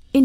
verscheen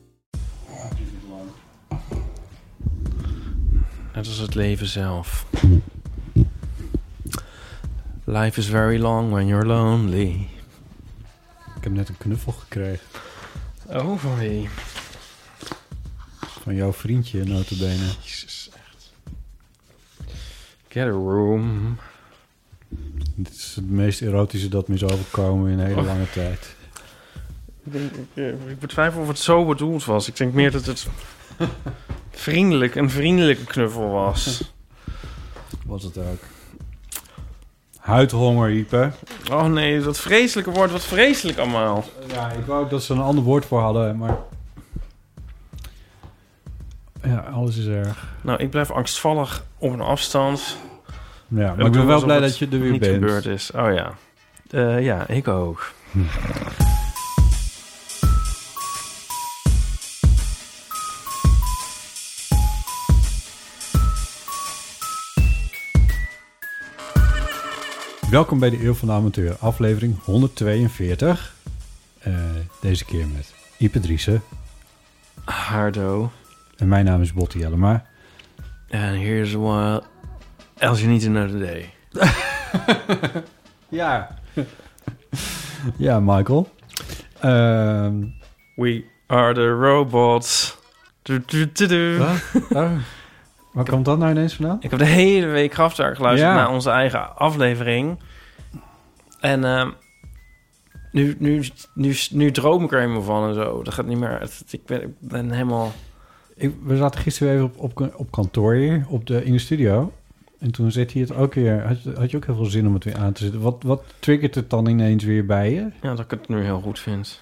Net als het leven zelf. Life is very long when you're lonely. Ik heb net een knuffel gekregen Oh, van wie? van jouw vriendje, notabene. Jezus, echt. Get a room. Dit is het meest erotische dat me is overkomen in een hele lange tijd. Ik, denk, ik, eh, ik betwijfel of het zo bedoeld was. Ik denk meer dat het vriendelijk, een vriendelijke knuffel was. Was het ook. Huidhonger, Ipe. Oh nee, dat vreselijke woord, wat vreselijk allemaal. Ja, ik wou ook dat ze een ander woord voor hadden, maar... Ja, alles is erg. Nou, ik blijf angstvallig op een afstand. Ja, maar ik ben wel blij dat je er weer niet bent. gebeurd is. Oh ja. Eh, ja, ik ook. Welkom bij de Eeuw van de Amateur, aflevering 142. Eh, deze keer met Ipe Driessen. Hardo. En mijn naam is Botti Jellema. And here's what else you need to know today. Ja. ja, Michael. Ehm We are the robots. Du, du, du, du. Wat? Waar komt dat nou ineens vandaan? Ik heb de hele week Kraftwerk geluisterd Ja. naar onze eigen aflevering. En ehm, nu, nu, nu, nu droom ik er helemaal van en zo. Dat gaat niet meer. Het- Ik ben, ik ben helemaal... Ik, we zaten gisteren even op, op, op kantoor hier, op de, in de studio. En toen zette hij het ook weer... Had, je- had je ook heel veel zin om het weer aan te zetten. Wat, wat triggert het dan ineens weer bij je? Ja, dat ik het nu heel goed vind.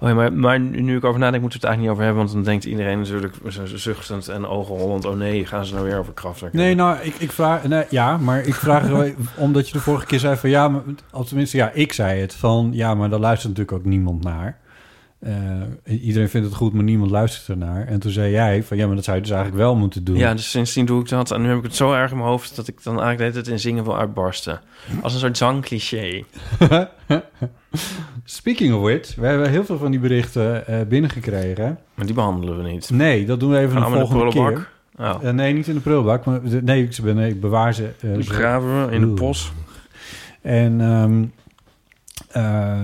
Oh ja, maar, maar nu nu ik over nadenk, moeten we het eigenlijk niet over hebben. Want dan denkt iedereen natuurlijk zo zuchtend en ogenrollend... oh nee, gaan ze nou weer over Kraftwerk Nee, nou, ik, ik vraag... Nee, ja, maar ik vraag... er wel- omdat je de vorige keer zei van... Ja, maar, of tenminste, ja, ik zei het. Van, ja, maar daar luistert natuurlijk ook niemand naar. Eh, iedereen vindt het goed, maar niemand luistert ernaar. En toen zei jij van... Ja, maar dat zou je dus eigenlijk wel moeten doen. Ja, dus sindsdien doe ik dat. En nu heb ik het zo erg in mijn hoofd dat ik dan eigenlijk de hele tijd in zingen wil uitbarsten. Als een soort zangcliché. Speaking of which, we hebben heel veel van die berichten eh, binnengekregen. Maar die behandelen we niet. Nee, dat doen we even Gaan de allemaal in de volgende keer. prullenbak. Oh. Eh, nee, niet in de prullenbak. Maar de- nee, ik, ze ben, nee, ik bewaar ze. eh, Die ze- begraven we in de Oeh. pos. En ehm, eh,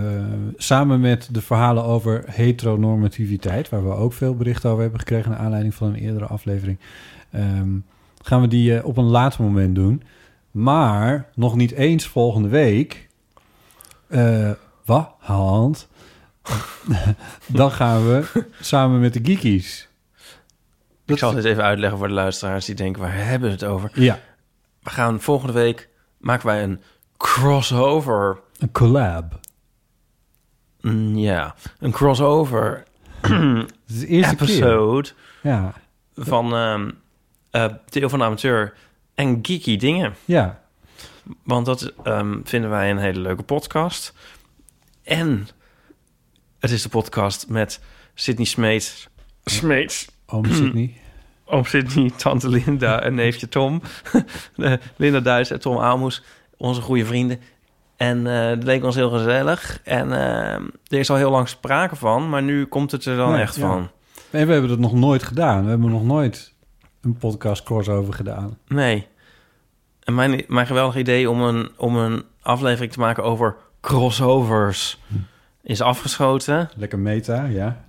samen met de verhalen over heteronormativiteit... waar we ook veel berichten over hebben gekregen... naar aanleiding van een eerdere aflevering... ehm, gaan we die eh, op een later moment doen. Maar nog niet eens volgende week... Eh wat, hand? Dan gaan we samen met de geekies. Ik zal dit even uitleggen voor de luisteraars die denken, waar hebben we het over? Ja, We gaan volgende week, maken wij een crossover. een collab. Mm, ja, een crossover Het is de eerste keer. episode Ja, van ehm eh, de Eeuw van de Amateur en geeky dingen. ja. Want dat ehm, vinden wij een hele leuke podcast. En het is de podcast met Sydney Smeets. Smeets. Oom Sydney. Oom Sydney, tante Linda en neefje Tom. Eh, Linda Duits en Tom Aalmoes. Onze goede vrienden. En eh, het leek ons heel gezellig. En ehm, er is al heel lang sprake van. Maar nu komt het er dan Ja, echt ja. van. Nee, we hebben dat nog nooit gedaan. We hebben nog nooit een podcast crossover gedaan. Nee. En mijn, mijn geweldig idee om een, om een aflevering te maken over crossovers is afgeschoten. Lekker meta, ja.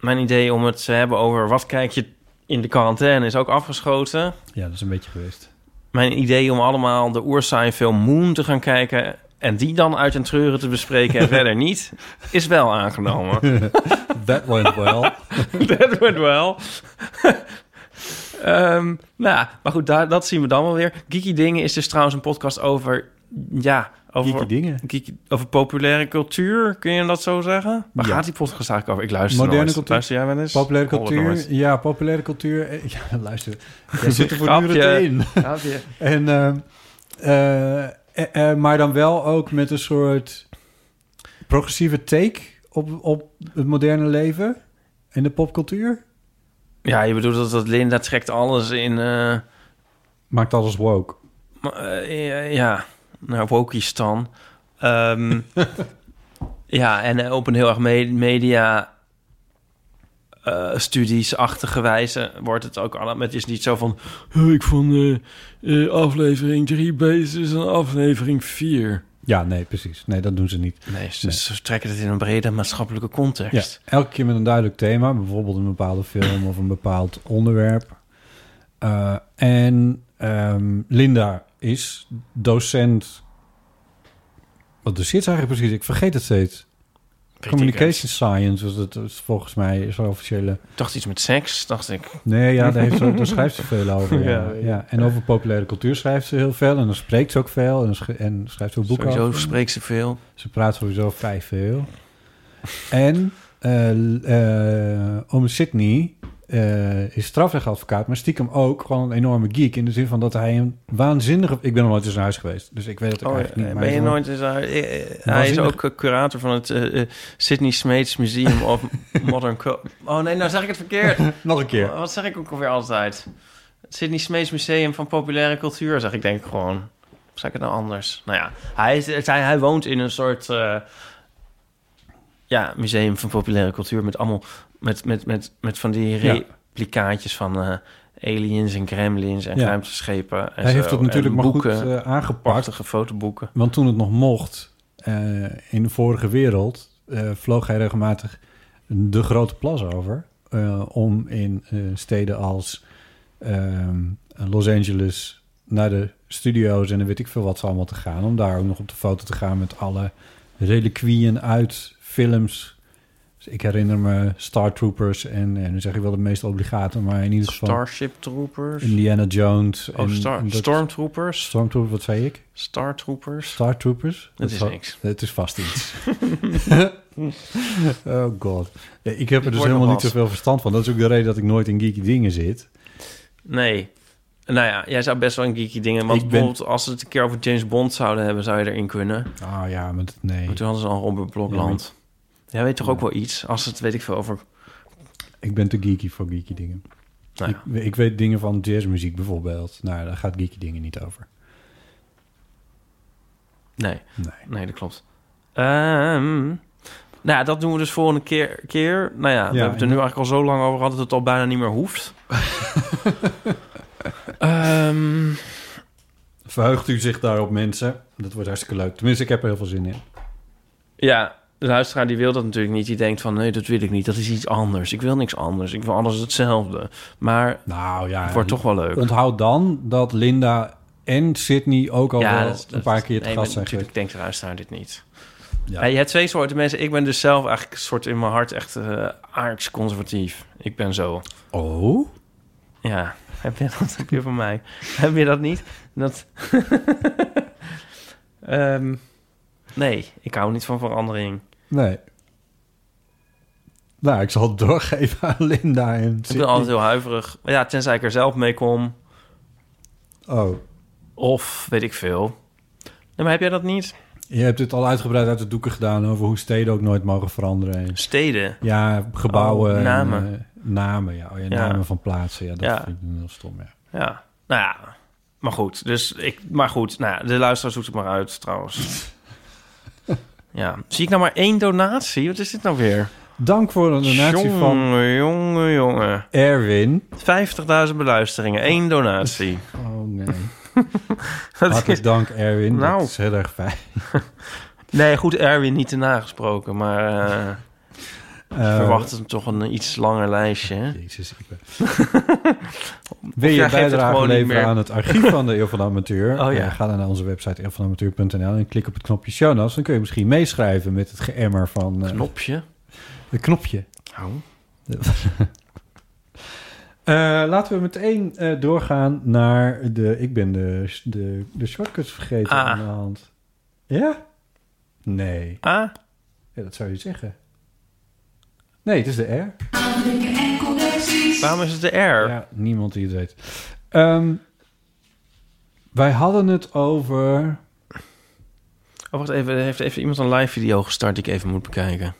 Mijn idee om het te hebben over wat kijk je in de quarantaine is ook afgeschoten. Ja, dat is een beetje geweest. Mijn idee om allemaal de oersaai-film Moon te gaan kijken... en die dan uit en treuren te bespreken en verder niet... is wel aangenomen. That went well. Dat wordt wel. Ehm, nou, ja, maar goed, daar, dat zien we dan wel weer. Geeky Dingen is dus trouwens een podcast over... Ja, over, Geeky dingen. geeky- over populaire cultuur. Kun je dat zo zeggen? Waar Ja. gaat die podcast eigenlijk over? Ik luister Moderne nooit. cultuur. Luister jij wel eens? Populaire Hoor het cultuur. nooit. Ja, populaire cultuur. Eh, Ja, luister. Jij zit er voortdurend Grapje. in. En, ehm, eh, eh, eh, maar dan wel ook met een soort progressieve take op, op het moderne leven en de popcultuur. Ja, je bedoelt dat, dat Linda trekt alles in... eh, Maakt alles woke. Maar, eh, ja, ja, naar Wokistan. Ehm ja, en eh, op een heel erg me- media eh, studies-achtige wijze wordt het ook allemaal... Het is niet zo van... "Hey, ik vond eh, eh, aflevering 3 beter is dan aflevering 4. Ja, nee, precies. Nee, dat doen ze niet. Nee, ze, ze trekken het in een brede maatschappelijke Ja, context. elke keer met een duidelijk thema, bijvoorbeeld een bepaalde film of een bepaald onderwerp. Eh, en ehm, Linda is docent. Wat doseert ze eigenlijk precies? Ik vergeet het steeds. Weet ik Communication Science was het is volgens mij is haar officiële. het. Ik dacht iets met seks, dacht ik. Nee, ja, daar, heeft ze, daar schrijft ze veel over. Ja, Ja, ja, weet En over populaire cultuur schrijft ze heel veel. En dan spreekt ze ook veel. En, dan sch- en schrijft ze ook boeken. Sowieso over. spreekt ze veel. Ze praat sowieso vrij veel. En eh eh, oom Sydney eh, is strafrechtadvocaat, maar stiekem ook gewoon een enorme geek. In de zin van dat hij een waanzinnige... Ik ben nog nooit in zijn huis geweest, dus ik weet het ook Oh, eigenlijk eh, niet. maar ben je hij is nooit eens daar- eh, eh, Hij is Waanzinnig. ook eh, curator van het eh, eh, Sydney Smeets Museum of Modern Co. Oh nee, nou zeg ik het verkeerd. wel- Nog een keer. Wat zeg ik ook alweer altijd? Het Sydney Smeets Museum van Populaire Cultuur, zeg ik denk ik gewoon. Of zeg ik het nou anders? Nou ja, hij, is, hij, hij woont in een soort eh, ja, museum van populaire cultuur met allemaal met, met, met, met van die Ja. replicaatjes van eh, aliens en gremlins en Ja. ruimteschepen. En Hij zo. heeft het natuurlijk en maar goed boeken, eh, aangepakt. prachtige fotoboeken. Want toen het nog mocht, eh, in de vorige wereld, eh, vloog hij regelmatig de grote plas over. eh, om in eh, steden als ehm, Los Angeles naar de studio's en dan weet ik veel wat ze allemaal te gaan. Om daar ook nog op de foto te gaan met alle reliquieën uit films. Dus ik herinner me Star Troopers en, en dan zeg ik wel de meeste obligaten, maar in ieder geval Starship Troopers. Indiana Jones. Oh, en Star- dat- Stormtroopers. Stormtroopers, wat zei ik? Startroopers. Star Troopers? Dat is va- niks. Het is vast iets. oh god. Nee, Ik heb Het wordt er dus nog helemaal niet wat. zoveel verstand van. Dat is ook de reden dat ik nooit in geeky dingen zit. Nee. Nou ja, jij zou best wel een geeky dingen... Want Ik ben- bijvoorbeeld als we het een keer over James Bond zouden hebben... zou je erin kunnen. Ah ja, maar dat- nee. Maar toen hadden ze al Robert Blokland. Jij weet toch ook wel iets? Als het, weet ik veel, over... Ik ben te geeky voor geeky dingen. Nou ja. Ik, ik weet dingen van jazzmuziek bijvoorbeeld. Nou, daar gaat geeky dingen niet over. Nee, Nee. nee, dat klopt. Ehm, nou ja, dat doen we dus volgende keer. keer. Nou ja, we hebben het er nu eigenlijk al zo lang over gehad... dat het al bijna niet meer hoeft. Ehm, Verheugt u zich daarop, mensen? Dat wordt hartstikke leuk. Tenminste, ik heb er heel veel zin in. Ja, de luisteraar die wil dat natuurlijk niet. Die denkt van, nee, dat wil ik niet. Dat is iets anders. Ik wil niks anders. Ik wil alles hetzelfde. Maar Nou ja, het wordt toch wel leuk. onthoud dan dat Linda en Sydney ook al wel een paar keer te nee, gast zijn geweest. Natuurlijk denkt de luisteraar dit niet. Ja. Ja. je hebt twee soorten mensen. Ik ben dus zelf eigenlijk een soort in mijn hart echt eh aardsconservatief. Ik ben zo. Oh? Ja, heb je dat heb je van mij? heb je dat niet? Dat... Ehm, nee, ik hou niet van verandering. Nee. Nou, ik zal het doorgeven aan Linda en Ik ben Sydney. altijd heel huiverig. Maar ja, tenzij ik er zelf mee kom. Oh, Of weet ik veel. Nee, maar heb jij dat niet? je hebt dit al uitgebreid uit de doeken gedaan over hoe steden ook nooit mogen veranderen. En, Steden. ja, gebouwen. Oh, en, namen. eh, namen, ja. Oh, ja, Ja. Namen van plaatsen, ja. Dat Ja. vind ik heel stom, ja. Ja. Nou ja. Maar goed. Dus ik, maar goed. Nou ja, de luisteraar zoekt het maar uit trouwens. ja. Zie ik nou maar één donatie? Wat is dit nou weer? Dank voor de donatie van Jongen, jongen, jongen. Erwin. 50.000 beluisteringen. één donatie. Oh, nee. Dat is- Hartelijk dank, Erwin. Nou. Dat is heel erg fijn. Nee, goed, Erwin niet te nagesproken, maar eh, ik Eh, verwacht hem toch een iets langer lijstje. hè? Jezus, ik ben... Wil je jij geeft het bijdrage gewoon niet leveren meer. aan het archief van de Eeuw van de Amateur? Oh ja. Eh, ga dan naar onze website eeuwvanamateur.nl en klik op het knopje show notes. Dan kun je misschien meeschrijven met het geëmmer van... eh, Knopje. Het knopje. Oh. Eh, laten we meteen eh, doorgaan naar de... Ik ben de, de, de shortcuts vergeten Ah. aan de hand. Ja? Nee. Ah, Ja, dat zou je zeggen. Nee, het is de R. waarom is het de R? Ja, niemand die het weet. Ehm, wij hadden het over... Oh, wacht even, er heeft even iemand een live video gestart die ik even moet bekijken.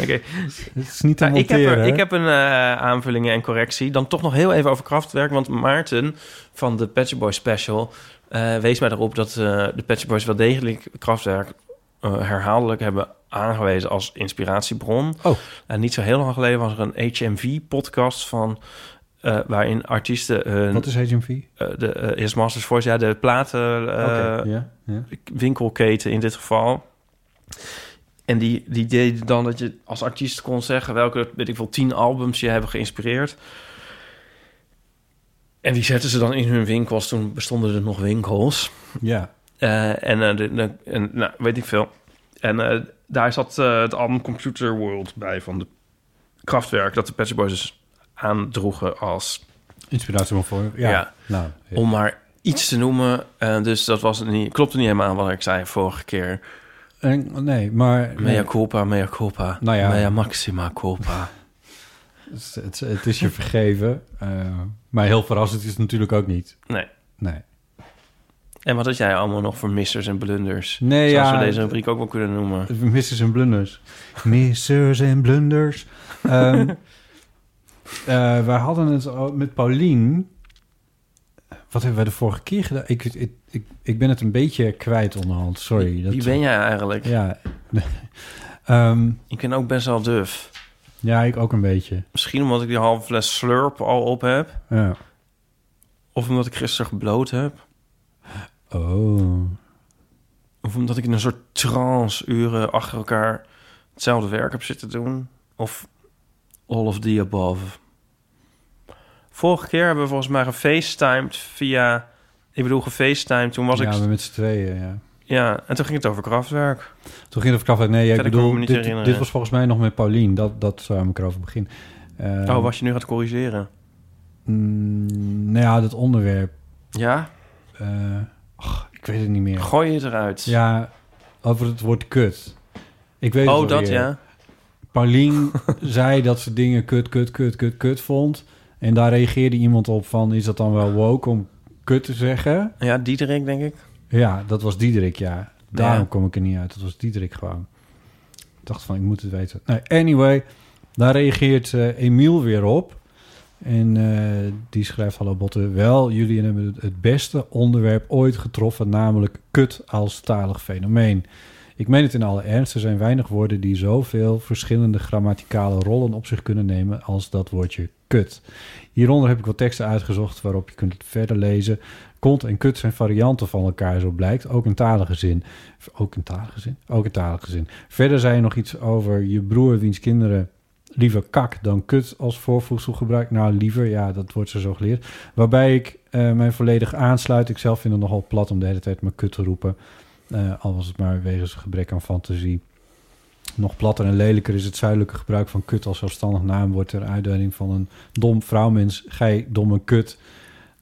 Oké, Het is niet te nou, ik, heb monteren, er- hè? ik heb een eh aanvulling en correctie. Dan toch nog heel even over krachtwerk, want Maarten van de Patch Boys Special eh, wees mij erop dat eh, de Patch Boys wel degelijk krachtwerk herhaaldelijk hebben aangewezen als inspiratiebron. Oh. En niet zo heel lang geleden was er een HMV-podcast van eh, waarin artiesten hun Wat is HMV? eh, de eh, His Masters Voice, ja, de platen eh, Oké, ja, ja. winkelketen in dit geval. En die, die deden dan dat je als artiest kon zeggen welke, weet ik veel, tien albums je hebben geïnspireerd. En die zetten ze dan in hun winkels. Toen bestonden er nog winkels. ja. Eh, en, eh, de, de- en nou, weet ik veel. En eh, daar zat eh, het album Computer World bij van de Kraftwerk. Dat de Patch Boys dus aandroegen als Inspiratie van voor. Ja. Ja. Nou, ja. om maar iets te noemen. Eh, dus dat was niet, klopte niet helemaal aan wat ik zei vorige keer. En- nee, maar... Mea nee, culpa, mea culpa. Nou ja. Mea maxima culpa. het, het- het is je vergeven. eh, maar heel verrassend is het natuurlijk ook niet. Nee. Nee. En wat had jij allemaal nog voor missers en blunders? Nee, Zoals ja, we deze rubriek ook wel kunnen noemen. Missers en blunders. Missers en blunders. Ehm eh, wij hadden het al met Paulien. Wat hebben wij de vorige keer gedaan? Ik, ik, ik, ik ben het een beetje kwijt onderhand. Sorry. Wie ben jij eigenlijk? Ja. Ehm, Ik ben ook best wel duf. ja, ik ook een beetje. Misschien omdat ik die halve fles slurp al op heb. Ja. Of omdat ik gisteren gebloot heb. Oh. Of omdat ik in een soort trance uren achter elkaar hetzelfde werk heb zitten doen. Of all of the above. Vorige keer hebben we volgens mij gefacetimed via... Ik bedoel, gefacetimed. Toen was ja, ik... we met z'n tweeën, ja. Ja, en toen ging het over krachtwerk. Toen ging het verkracht uit. Nee, ja, ik Verder kan ik bedoel, me niet dit, herinneren. dit was volgens mij nog met Paulien. Dat, dat zou ik erover beginnen. Ehm, oh, was je nu gaat corrigeren? mm, nou ja, dat onderwerp. Ja? eh, ach, ik weet het niet meer. Gooi je het eruit? Ja, over het woord kut. Ik weet oh, het dat alweer. ja. Paulien zei dat ze dingen kut, kut, kut, kut, kut vond. En daar reageerde iemand op van... is dat dan wel woke om kut te zeggen? Ja, Diederik, denk ik. Ja, dat was Diederik, ja. Daarom Ja. kom ik er niet uit. Dat was Diederik gewoon. Ik dacht van, ik moet het weten. Nou, anyway, daar reageert eh, Emiel weer op. En eh, die schrijft, hallo botten, wel, jullie hebben het- het beste onderwerp ooit getroffen, namelijk kut als talig fenomeen. Ik meen het in alle ernst, er zijn weinig woorden die zoveel verschillende grammaticale rollen op zich kunnen nemen als dat woordje kut. Hieronder heb ik wat teksten uitgezocht waarop je kunt verder lezen. Kont en kut zijn varianten van elkaar, zo blijkt. Ook in talige zin. Ook in talige zin? Ook in talige zin. Verder zei je nog iets over je broer wiens kinderen liever kak dan kut als voorvoegsel gebruikt. Nou, liever, ja, dat wordt ze zo geleerd. Waarbij ik eh, mij volledig aansluit. Ik zelf vind het nogal plat om de hele tijd maar kut te roepen. Eh, al was het maar wegens gebrek aan fantasie. Nog platter en lelijker is het zuidelijke gebruik van kut als zelfstandig naamwoord ter uitduiding van een dom vrouwmens. Gij domme kut.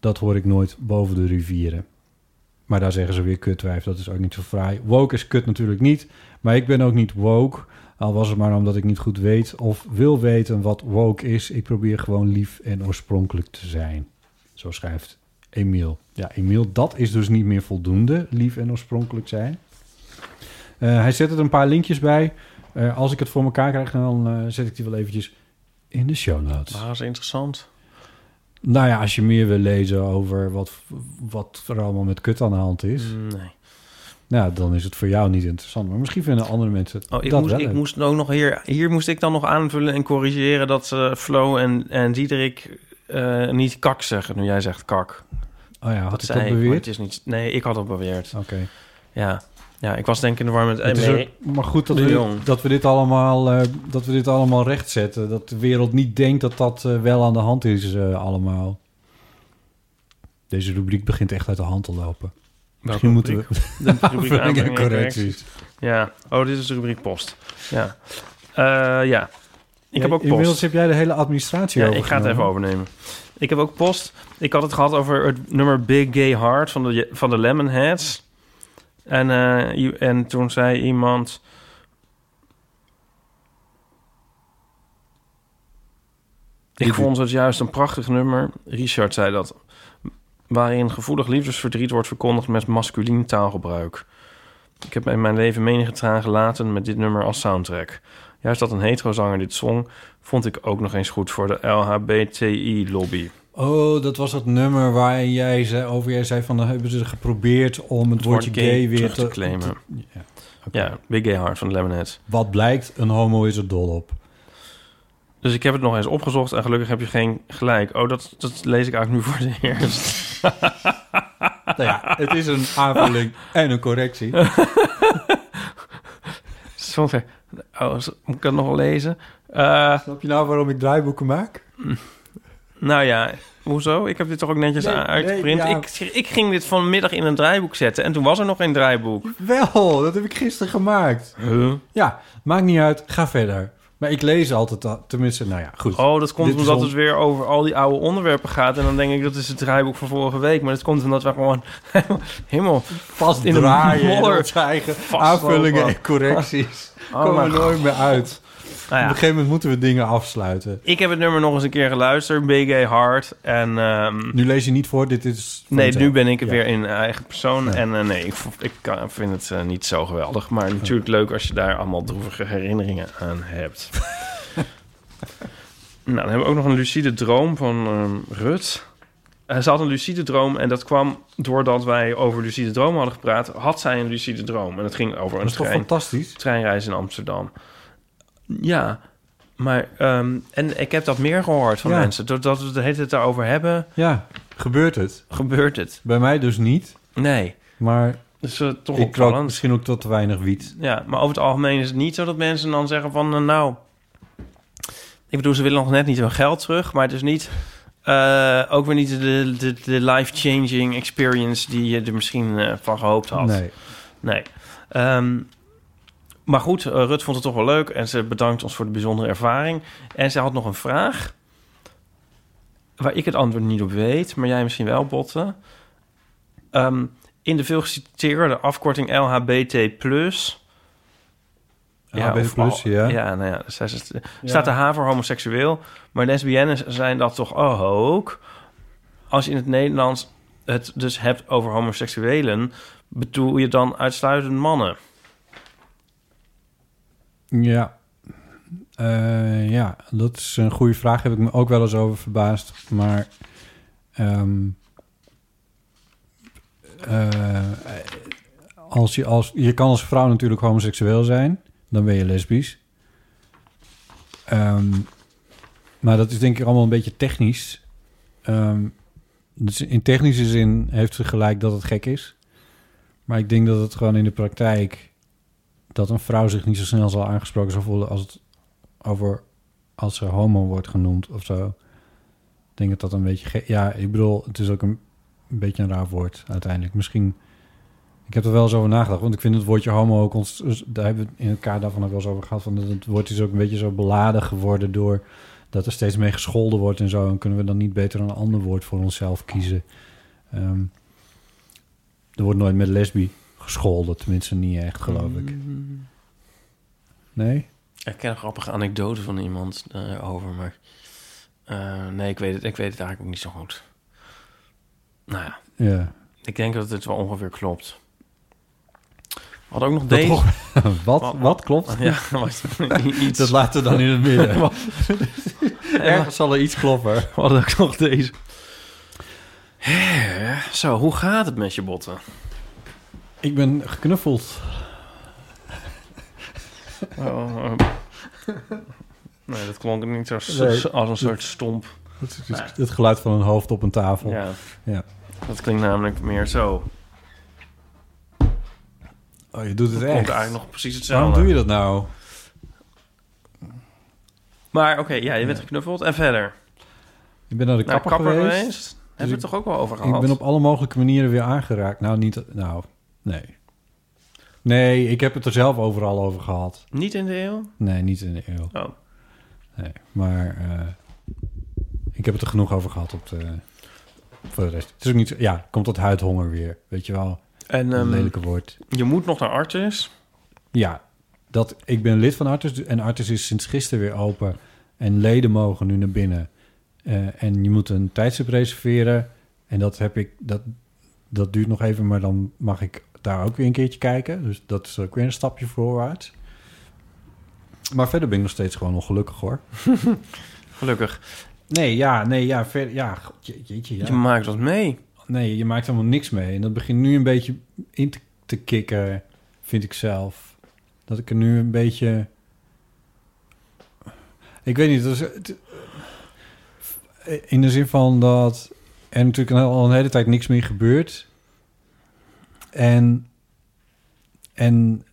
Dat hoor ik nooit boven de rivieren. Maar daar zeggen ze weer kutwijf. Dat is ook niet zo fraai. Woke is kut natuurlijk niet. Maar ik ben ook niet woke. Al was het maar omdat ik niet goed weet of wil weten wat woke is. Ik probeer gewoon lief en oorspronkelijk te zijn. Zo schrijft Emiel. Ja, Emiel, dat is dus niet meer voldoende. Lief en oorspronkelijk zijn. Eh, hij zet er een paar linkjes bij. Eh, als ik het voor elkaar krijg, dan eh, zet ik die wel eventjes in de show notes. Maar was interessant. Nou ja, als je meer wil lezen over wat, wat er allemaal met kut aan de hand is, Nee. nou, dan is het voor jou niet interessant. Maar misschien vinden andere mensen het Oh, ik dat moest, wel ik leuk. moest ook nog hier, hier moest ik dan nog aanvullen en corrigeren dat eh Flo en, en Diederik eh, niet kak zeggen. Nu jij zegt kak. Oh ja, had ik zei dat ik, maar beweerd? het is niet, nee, ik had dat beweerd. Oké. Ja. ja, ik was denk ik in de war met... E. Het is Nee. ook- maar goed dat De we, Jong. dit, dat, we dit allemaal, eh, dat we dit allemaal rechtzetten. Dat de wereld niet denkt dat dat eh, wel aan de hand is eh, allemaal. Deze rubriek begint echt uit de hand te lopen. Misschien moeten we... De rubriek Aanvullingen en aanbrengen en correcties. Ja. Oh, dit is de rubriek post. Ja. Eh, ja. Ik heb ook post. Inmiddels heb jij de hele administratie Ja, over. ik ga het even overnemen. Ik heb ook post. Ik had het gehad over het nummer Big Gay Heart van de, van de Lemonheads. En, eh, i- en toen zei iemand... Ik vond het juist een prachtig nummer. Richard zei dat. Waarin gevoelig liefdesverdriet wordt verkondigd met masculien taalgebruik. Ik heb in mijn leven menige traan gelaten met dit nummer als soundtrack. Juist dat een hetero zanger dit zong, vond ik ook nog eens goed voor de LHBTI-lobby. Oh, dat was dat nummer waar jij zei, over jij zei van... dan hebben ze geprobeerd om het woordje gay, weer terug te, claimen. te- ja. Oké. Ja, Big Gay Heart van de Lemonheads. Wat blijkt, een homo is er dol op. Dus ik heb het nog eens opgezocht en gelukkig heb je geen gelijk. Oh, dat, dat lees ik eigenlijk nu voor de eerst. nou ja, het is een aanvulling en een correctie. Soms zeg oh, zo- moet ik dat nog wel lezen? Eh, Snap je nou waarom ik draaiboeken maak? nou ja, hoezo? Ik heb dit toch ook netjes Nee, nee, uitgeprint? ja. ik, ik ging dit vanmiddag in een draaiboek zetten en toen was er nog geen draaiboek. Wel, dat heb ik gisteren gemaakt. Huh? Ja, maakt niet uit, ga verder. Maar ik lees altijd, al- tenminste, nou ja, goed. Oh, dat komt Dit is omdat on- het weer over al die oude onderwerpen gaat. En dan denk ik, dat is het draaiboek van vorige week. Maar dat komt omdat we gewoon helemaal... vast in in de draaien en modder. onze eigen Vastlopen. aanvullingen en correcties. Oh, Komen mijn er nooit meer uit. Nou Op ja, een gegeven moment moeten we dingen afsluiten. ik heb het nummer nog eens een keer geluisterd. BG Hard. En ehm, Nu lees je niet voor, dit is... voor nee, mezelf. nu ben ik Ja. weer in eigen persoon. Ja. En eh, nee, ik, vo- ik kan, vind het eh, niet zo geweldig. Maar natuurlijk leuk als je daar allemaal droevige herinneringen aan hebt. nou, dan hebben we ook nog een lucide droom van ehm Rut. Eh, Ze had een lucide droom en dat kwam doordat wij over lucide dromen hadden gepraat. Had zij een lucide droom en het ging over Dat een is toch trein fantastisch? treinreis in Amsterdam. Ja, maar ehm, en ik heb dat meer gehoord van Ja. mensen. Doordat we het de hele tijd daarover hebben, Ja, gebeurt het. gebeurt het. Bij mij dus niet, Nee, maar dus eh, toch ik rook opvallend. misschien ook tot te weinig wiet. Ja, maar over het algemeen is het niet zo dat mensen dan zeggen van, eh, nou, ik bedoel, ze willen nog net niet hun geld terug, maar het is niet, eh, ook weer niet de, de, de life-changing experience die je er misschien eh, van gehoopt had. Nee. Nee. Ehm, maar goed, eh, Rut vond het toch wel leuk en ze bedankt ons voor de bijzondere ervaring. En ze had nog een vraag waar ik het antwoord niet op weet, maar jij misschien wel, Botte. Ehm, in de veelgeciteerde afkorting LHBT+. LHBT+, of al- ja. Ja, nou ja, zij- ze- staat de H voor homoseksueel, maar lesbiennes zijn dat toch ook? Als je in het Nederlands het dus hebt over homoseksuelen, bedoel je dan uitsluitend mannen? Ja. Eh, ja, dat is een goede vraag. Heb ik me ook wel eens over verbaasd. Maar ehm, eh, als je, als, je kan als vrouw natuurlijk homoseksueel zijn. Dan ben je lesbisch. Ehm, maar dat is denk ik allemaal een beetje technisch. Ehm, dus in technische zin heeft ze gelijk dat het gek is. Maar ik denk dat het gewoon in de praktijk dat een vrouw zich niet zo snel zal aangesproken zal voelen als het over als ze homo wordt genoemd of zo. Ik denk dat dat een beetje ge- ja, ik bedoel, het is ook een, een beetje een raar woord uiteindelijk. Misschien ik heb er wel eens over nagedacht, want ik vind het woordje homo ook ons dus daar hebben we het in elkaar daarvan ook wel eens over gehad van dat het woord is ook een beetje zo beladen geworden door dat er steeds mee gescholden wordt en zo en kunnen we dan niet beter een ander woord voor onszelf kiezen. Ehm, er wordt nooit met lesbi gescholden, tenminste niet echt geloof ik. Nee? Ik ken een grappige anekdote van iemand eh, over, maar eh, nee, ik weet, het, ik weet het eigenlijk ook niet zo goed. Nou ja, Ja. ik denk dat het wel ongeveer klopt. Had ook nog Dat deze. toch- wat, wat klopt? Ja, wacht, iets. Dat laten we dan in het midden. Ergens zal er iets kloppen. We hadden ook nog deze. Hè, Zo, hoe gaat het met je botten? Ik ben geknuffeld. Oh, nee, dat klonk niet zo, als een soort stomp. Dat is dus het geluid van een hoofd op een tafel. Ja. Ja. Dat klinkt namelijk meer zo. Oh, je doet het Het Komt echt. eigenlijk nog precies hetzelfde. Waarom doe je dat nou? Maar oké, ja, je bent geknuffeld en verder. Ik ben naar de Naar kapper, geweest. Oh, Hebben we het toch ook wel over gehad? Dus Ik ben op alle mogelijke manieren weer aangeraakt. Nou, niet... Nou, nee. Nee, ik heb het er zelf overal over gehad. Niet in de eeuw? Nee, niet in de eeuw. Oh. Nee, maar eh, ik heb het er genoeg over gehad op de, voor de rest. Het is ook niet... zo- Ja, komt tot huidhonger weer. Weet je wel, En een ehm, lelijke woord. je moet nog naar Artis. Ja, dat, ik ben lid van Artis en Artis is sinds gisteren weer open. En leden mogen nu naar binnen. Eh, en je moet een tijdstip reserveren. En dat heb ik, dat, dat duurt nog even, maar dan mag ik daar ook weer een keertje kijken. Dus dat is ook weer een stapje voorwaarts. Maar verder ben ik nog steeds gewoon ongelukkig hoor. Gelukkig. Nee, ja, nee, ja, verder, ja, god, je- jeetje, ja. Je maakt wat mee. Nee, je maakt helemaal niks mee. En dat begint nu een beetje in te, te kikken, vind ik zelf. Dat ik er nu een beetje... Ik weet niet, dat is... het- In de zin van dat er natuurlijk al een hele tijd niks meer gebeurt. En... En...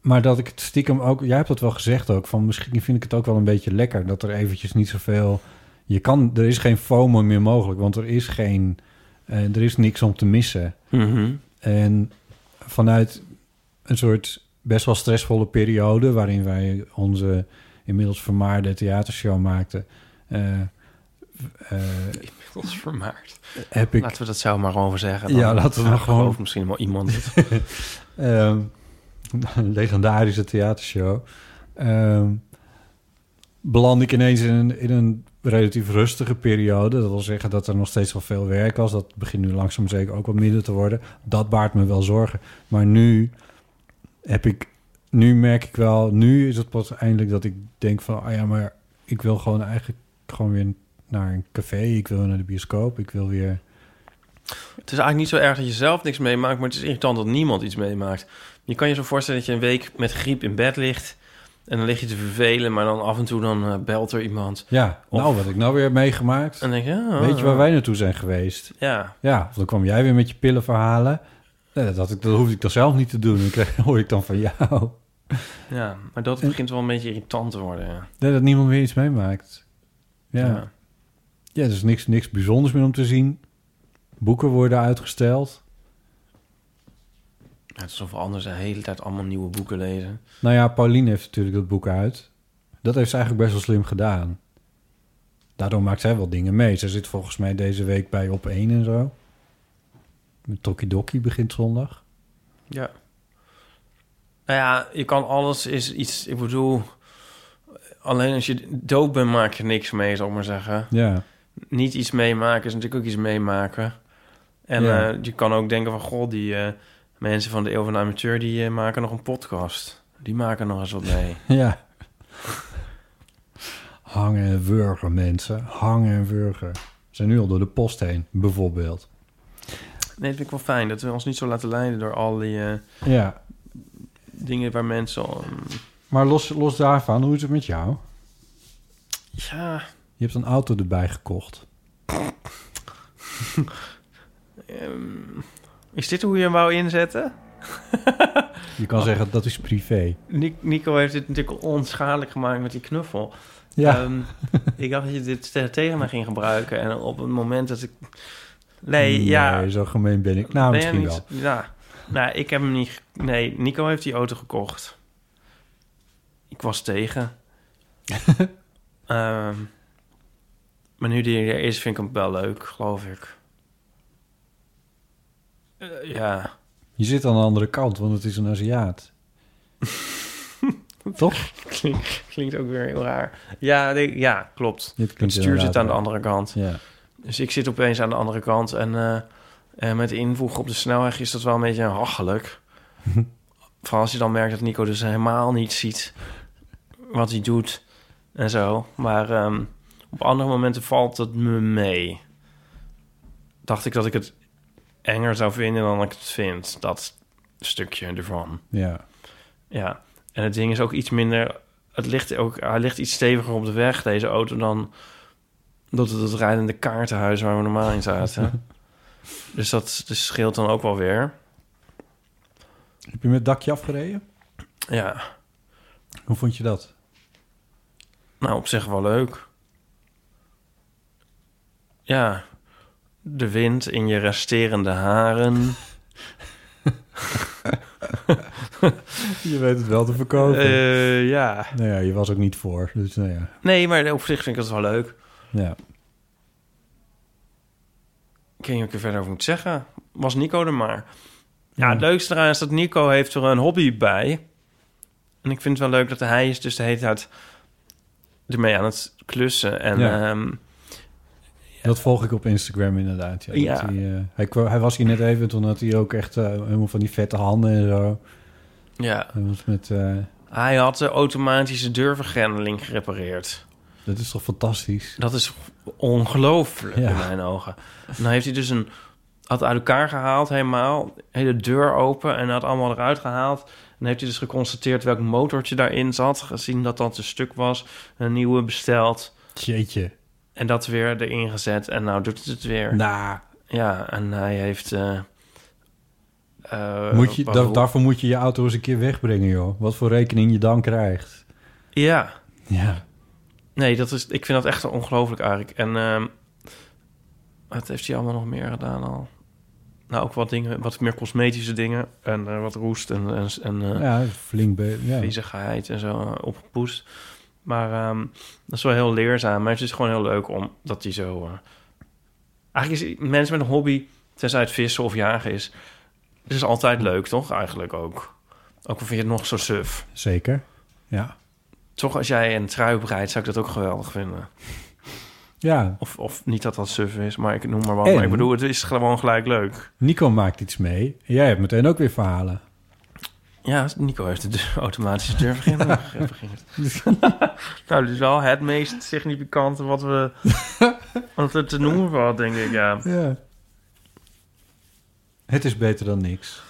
Maar dat ik het stiekem ook... Jij hebt dat wel gezegd ook, van misschien vind ik het ook wel een beetje lekker... dat er eventjes niet zoveel... Je kan, er is geen FOMO meer mogelijk, want er is geen... eh, er is niks om te missen. Mhm. En vanuit een soort best wel stressvolle periode... waarin wij onze inmiddels vermaarde theatershow maakten... eh, eh, Dat is vermaard. heb ik... Laten we dat zo maar gewoon zeggen. Ja, laten we maar gelooft gewoon- misschien wel iemand. het. Ehm, een legendarische theatershow. Ehm, beland ik ineens in een, in een relatief rustige periode. Dat wil zeggen dat er nog steeds wel veel werk was. Dat begint nu langzaam zeker ook wat minder te worden. Dat baart me wel zorgen. Maar nu heb ik, nu merk ik wel, nu is het pas eindelijk dat ik denk van, ah ja, maar ik wil gewoon eigenlijk gewoon weer naar een café. Ik wil naar de bioscoop. Ik wil weer. Het is eigenlijk niet zo erg dat je zelf niks meemaakt, maar het is irritant dat niemand iets meemaakt. Je kan je zo voorstellen dat je een week met griep in bed ligt en dan lig je te vervelen, maar dan af en toe dan eh, belt er iemand. Ja, Of- nou wat ik nou weer heb meegemaakt. En dan denk je, ja, Weet je ja. waar wij naartoe zijn geweest? Ja, Ja, of dan kwam jij weer met je pillenverhalen. Nee, dat, had ik, dat hoefde ik dan zelf niet te doen. Dan kreeg, hoor ik dan van jou. ja, maar dat begint wel een beetje irritant te worden. Ja. Nee, dat niemand meer iets meemaakt. Ja, ja. er is niks, niks bijzonders meer om te zien. Boeken worden uitgesteld. Ja, Het is alsof we anders de hele tijd allemaal nieuwe boeken lezen. Nou ja, Pauline heeft natuurlijk dat boek uit. Dat heeft ze eigenlijk best wel slim gedaan. Daardoor maakt zij wel dingen mee. Ze zit volgens mij deze week bij Op 1 en zo. Tokidoki begint zondag. Ja. Nou ja, je kan alles is iets. Ik bedoel, alleen als je dood bent, maak je niks mee, zal ik maar zeggen. Ja. Niet iets meemaken is natuurlijk ook iets meemaken. En Ja. eh, je kan ook denken van, god, die eh, mensen van de Eeuw van de Amateur, die eh, maken nog een podcast. Die maken nog eens wat mee. Ja. Hangen en wurgen, mensen. Hangen en wurgen. We zijn nu al door de post heen, bijvoorbeeld. Nee, dat vind ik wel fijn, dat we ons niet zo laten leiden door al die eh, Ja. dingen waar mensen... al, mm, Maar los, los daarvan, hoe is het met jou? ja, Je hebt een auto erbij gekocht. ehm, is dit hoe je hem wou inzetten? Je kan zeggen, dat is privé. Nic- Nico heeft dit natuurlijk onschadelijk gemaakt met die knuffel. Ja. Ehm, ik dacht dat je dit te- tegen mij ging gebruiken. En op het moment dat ik... Nee, ja. Nee, zo gemeen ben ik. Nou, ben je misschien niet- wel. Ja. Nou, ik heb hem niet... ge- Nee, Nico heeft die auto gekocht. Ik was tegen. Ehm, maar nu die er is, vind ik hem wel leuk, geloof ik. Eh, ja. Je zit aan de andere kant, want het is een Aziat. Toch? Klink- klinkt ook weer heel raar. Ja, nee, ja klopt. Dit klinkt het stuur zit inderdaad aan de raar. andere kant. Ja. Dus ik zit opeens aan de andere kant. En eh, eh, met invoegen op de snelweg is dat wel een beetje hachelijk. Vooral als je dan merkt dat Nico dus helemaal niet ziet wat hij doet en zo. Maar ehm, op andere momenten valt het me mee. Dacht ik dat ik het enger zou vinden dan ik het vind. Dat stukje ervan. ja. Ja, en het ding is ook iets minder. Het ligt ook, hij ligt iets steviger op de weg, deze auto, dan, Dat het het rijdende kaartenhuis waar we normaal in zaten. dus dat dus scheelt dan ook wel weer. Heb je met het dakje afgereden? Ja, Hoe vond je dat? nou op zich wel leuk. Ja, de wind in je resterende haren. Je weet het wel te verkopen. Eh, ja. nou ja, je was ook niet voor. Dus nou ja. Nee, maar op zich vind ik dat wel leuk. ja. Ik weet niet wat ik er verder over moet zeggen. Was Nico er maar. Ja, het leukste eraan is dat Nico heeft er een hobby bij. En ik vind het wel leuk dat hij is dus de hele tijd ermee aan het klussen. En ehm, Ja. ja, Dat volg ik op Instagram inderdaad. Ja. Ja. Dat Hij, eh, hij, kwa- hij was hier net even, toen had hij ook echt eh, helemaal van die vette handen en zo. ja. Hij was met, eh, hij had de automatische deurvergrendeling gerepareerd. dat is toch fantastisch? Dat is ongelooflijk Ja. in mijn ogen. En dan heeft hij dus een... Had uit elkaar gehaald helemaal. Hele deur open en had allemaal eruit gehaald. En dan heeft hij dus geconstateerd welk motortje daarin zat. Gezien dat dat een stuk was. Een nieuwe besteld. Jeetje. En dat weer erin gezet. En nou doet het het weer. Nou, Ja, en hij heeft... eh, eh, moet je, da- waarom- daarvoor moet je je auto eens een keer wegbrengen, joh. Wat voor rekening je dan krijgt. Ja. Ja. Nee, dat is, ik vind dat echt ongelooflijk eigenlijk. En ehm, wat heeft hij allemaal nog meer gedaan al? Nou, ook wat dingen, wat meer cosmetische dingen. En eh, wat roest en, en, en eh, Ja, flink. Be- ja. viezigheid en zo eh, opgepoest. Maar ehm, dat is wel heel leerzaam. Maar het is gewoon heel leuk om dat hij zo... eh, Eigenlijk is mensen met een hobby, tenzij het vissen of jagen is... Het is altijd leuk, toch? Eigenlijk ook. Ook al vind je het nog zo suf. Zeker. Ja. Toch als jij een trui breidt, zou ik dat ook geweldig vinden. Ja, Of, of niet dat dat suf is, maar ik noem maar wat. En- Maar ik bedoel, het is gewoon gelijk leuk. Nico maakt iets mee. Jij hebt meteen ook weer verhalen. Ja, Nico heeft dus de deur- automatische deurvergrendeling gerepareerd. nou, dit is wel het meest significante wat we, wat we te noemen valt, denk ik, ja. Ja. Het is beter dan niks.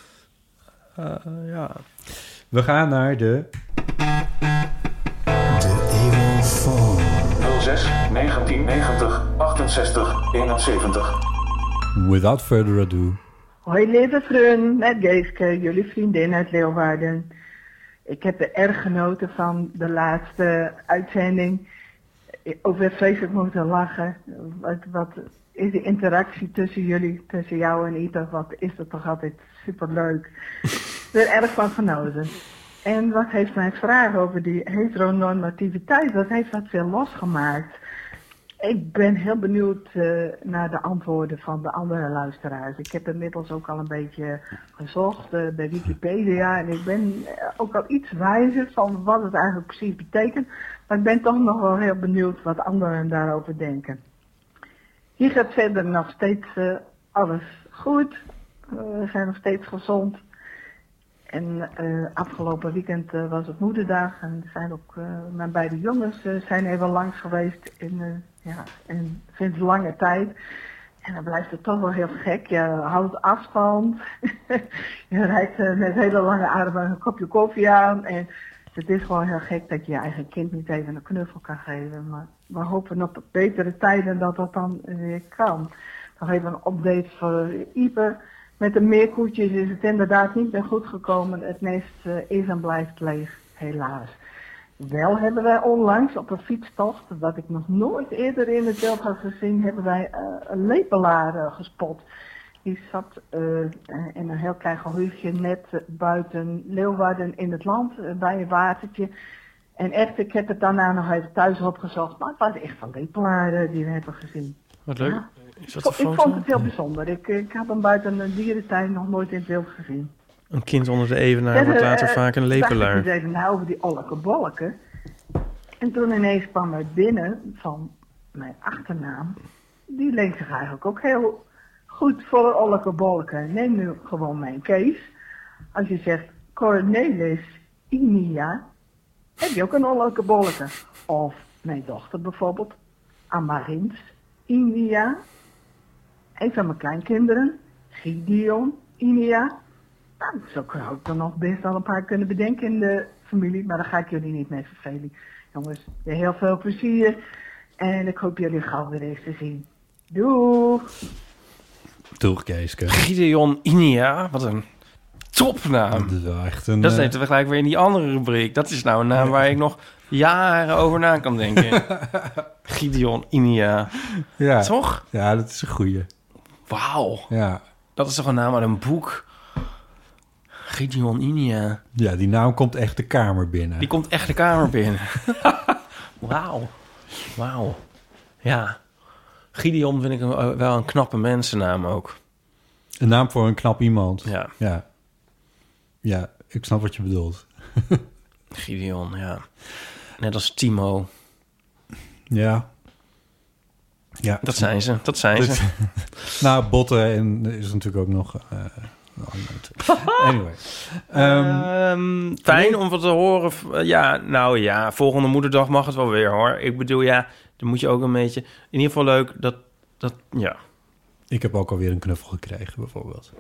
Eh, ja. We gaan naar de... 06 1990 68 71. Without further ado. Hoi lieve vriend, met Geeske, jullie vriendin uit Leeuwarden. Ik heb er erg genoten van de laatste uitzending. Ik- Ook weer vreselijk moeten lachen. Wat, wat is de interactie tussen jullie, tussen jou en Ito, wat is dat toch altijd superleuk. Ik ben er erg van genoten. En wat heeft mijn vraag over die heteronormativiteit, wat heeft dat veel losgemaakt? Ik ben heel benieuwd eh, naar de antwoorden van de andere luisteraars. Ik heb inmiddels ook al een beetje gezocht eh, bij Wikipedia en ik ben eh, ook al iets wijzer van wat het eigenlijk precies betekent. Maar ik ben toch nog wel heel benieuwd wat anderen daarover denken. Hier gaat verder nog steeds eh, alles goed. Eh, We zijn nog steeds gezond. En eh, afgelopen weekend eh, was het moederdag en er zijn ook eh, mijn beide jongens eh, zijn even langs geweest in, eh, ja, en sinds lange tijd. En dan blijft het toch wel heel gek. Je houdt afstand. je rijdt eh, met hele lange armen een kopje koffie aan. En het is gewoon heel gek dat je je eigen kind niet even een knuffel kan geven. Maar we hopen op betere tijden dat dat dan eh, weer kan. Nog even een update voor Ieper. Met de meerkoetjes is het inderdaad niet meer goed gekomen. Het nest eh, is en blijft leeg, helaas. Wel hebben wij onlangs op een fietstocht, wat ik nog nooit eerder in het veld had gezien, hebben wij eh, een lepelaar eh, gespot. Die zat eh, in een heel klein gehuchtje net eh, buiten Leeuwarden in het land, eh, bij een watertje. En echt, ik heb het daarna nog even thuis opgezocht, maar het was echt een lepelaar eh, die we hebben gezien. Wat leuk. Is dat een Ik vond foto? het heel bijzonder. Ik, eh, ik had hem buiten een dierentuin nog nooit in het wild gezien. Een kind onder de evenaar wordt Verder, later eh, vaak een dacht Ik lepelaar. eens even na over die olleke bolken. En toen ineens kwam er binnen van mijn achternaam. Die leent zich eigenlijk ook heel goed voor olleke bolken. Neem nu gewoon mijn Kees. Als je zegt Cornelis Inia, heb je ook een olleke bolken. Of mijn dochter bijvoorbeeld, Amarins Inia. Een van mijn kleinkinderen, Gideon Inia. Nou, zo zou ik dan nog best wel een paar kunnen bedenken in de familie, maar daar ga ik jullie niet mee vervelen. Jongens, weer heel veel plezier. En ik hoop jullie gauw weer eens te zien. Doeg! Toch, Keeske. eh. Gideon Inia, wat een topnaam. Dat is wel echt een... Ah. Dat eh, zitten we gelijk weer in die andere rubriek. Dat is nou een naam waar ik nog jaren over na kan denken. Gideon Inia. ja. Toch? ja, dat is een goeie. Wauw. Ja. Dat is toch een naam uit een boek? Gideon Inia. ja, die naam komt echt de kamer binnen. Die komt echt de kamer binnen. Wauw. Wauw. Ja. Gideon vind ik een- eh, wel een knappe mensennaam ook. Een naam voor een knap iemand. Ja. Ja, ja ik snap wat je bedoelt. Gideon, ja. Net als Timo. Ja. Ja. Dat zijn ze. Dat zijn Dit- ze. Nou, botten en er is natuurlijk ook nog... eh, een ander- anyway. Ehm, Ehm, fijn om wat te horen. V- eh, Ja, nou ja, volgende moederdag mag het wel weer hoor. Ik bedoel, ja, dan moet je ook een beetje. In ieder geval leuk dat. dat ja. ik heb ook alweer een knuffel gekregen, bijvoorbeeld.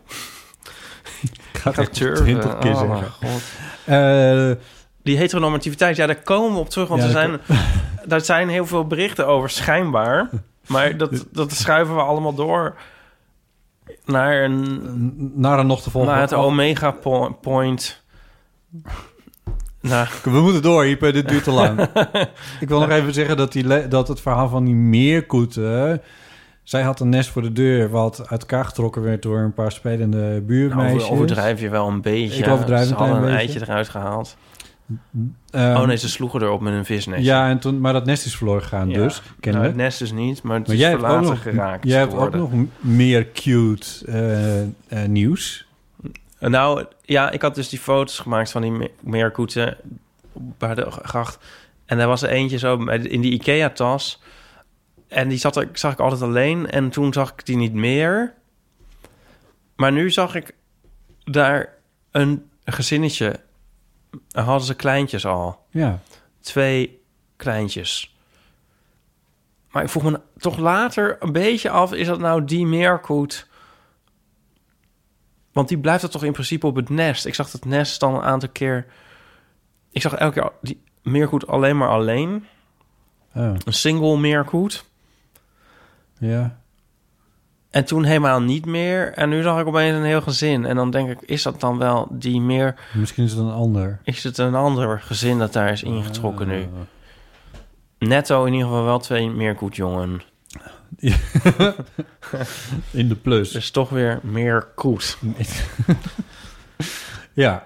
ik ga Gaat echt 20 keer Oh, zeggen. mijn God. Eh, Die heteronormativiteit, ja, daar komen we op terug. Want Ja, er daar zijn, daar zijn heel veel berichten over, schijnbaar. Maar dat, dat schuiven we allemaal door naar, een, naar een nog te volgen. naar het omega po- point. Nou, We moeten door, Ipe. Dit duurt te lang. ik wil nog even zeggen dat, die le- dat het verhaal van die meerkoeten... Zij had een nest voor de deur wat uit elkaar getrokken werd... door een paar spelende nou, buurmeisjes. over- overdrijf je wel een beetje. Ik overdrijf een Ze hadden klein een beetje. eitje eruit gehaald. Ehm, oh nee, ze sloegen erop met een visnetje. Ja, en toen, maar dat nest is verloren gegaan Ja. dus, Nou, kennelijk. het nest dus niet, maar het maar is jij hebt, ook verlaten nog, geraakt. jij hebt ook geworden. nog m- meer cute eh, eh, nieuws. Nou, ja, ik had dus die foto's gemaakt van die me- meerkoeten bij de gracht. En daar was er eentje zo met- in die IKEA-tas. En die zat er, zag ik altijd alleen. En toen zag ik die niet meer. Maar nu zag ik daar een gezinnetje. En hadden ze kleintjes al Ja, twee kleintjes. Maar ik vroeg me toch later een beetje af... is dat nou die meerkoet? Want die blijft er toch in principe op het nest. Ik zag dat nest dan een aantal keer... Ik zag elke keer die meerkoet alleen maar alleen. oh, Een single meerkoet. ja. En toen helemaal niet meer. En nu zag ik opeens een heel gezin. En dan denk ik, is dat dan wel die meer... Misschien is het een ander. Is het een ander gezin dat daar is ingetrokken nu? Netto in ieder geval wel twee meerkoetjongen. In de plus. Dus toch weer meer koet. Ja.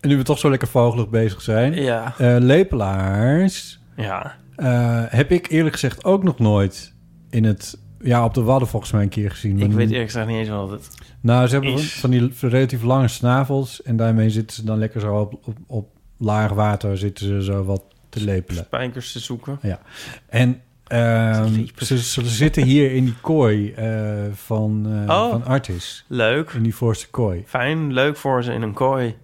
En nu we toch zo lekker vogelig bezig zijn. Ja. Eh, lepelaars Ja. eh, heb ik eerlijk gezegd ook nog nooit in het... Ja, op de Wadden volgens mij een keer gezien. Ik Maar- weet eerlijk gezegd niet eens wat het... Nou, ze hebben is. van die relatief lange snavels... en daarmee zitten ze dan lekker zo op, op, op laag water... zitten ze zo wat te lepelen. Spijkers te zoeken. En ehm, Lepelen. ze, ze zitten hier in die kooi eh, van, eh, Oh. van Artis. Leuk. In die voorste kooi. Fijn. Leuk voor ze in een kooi.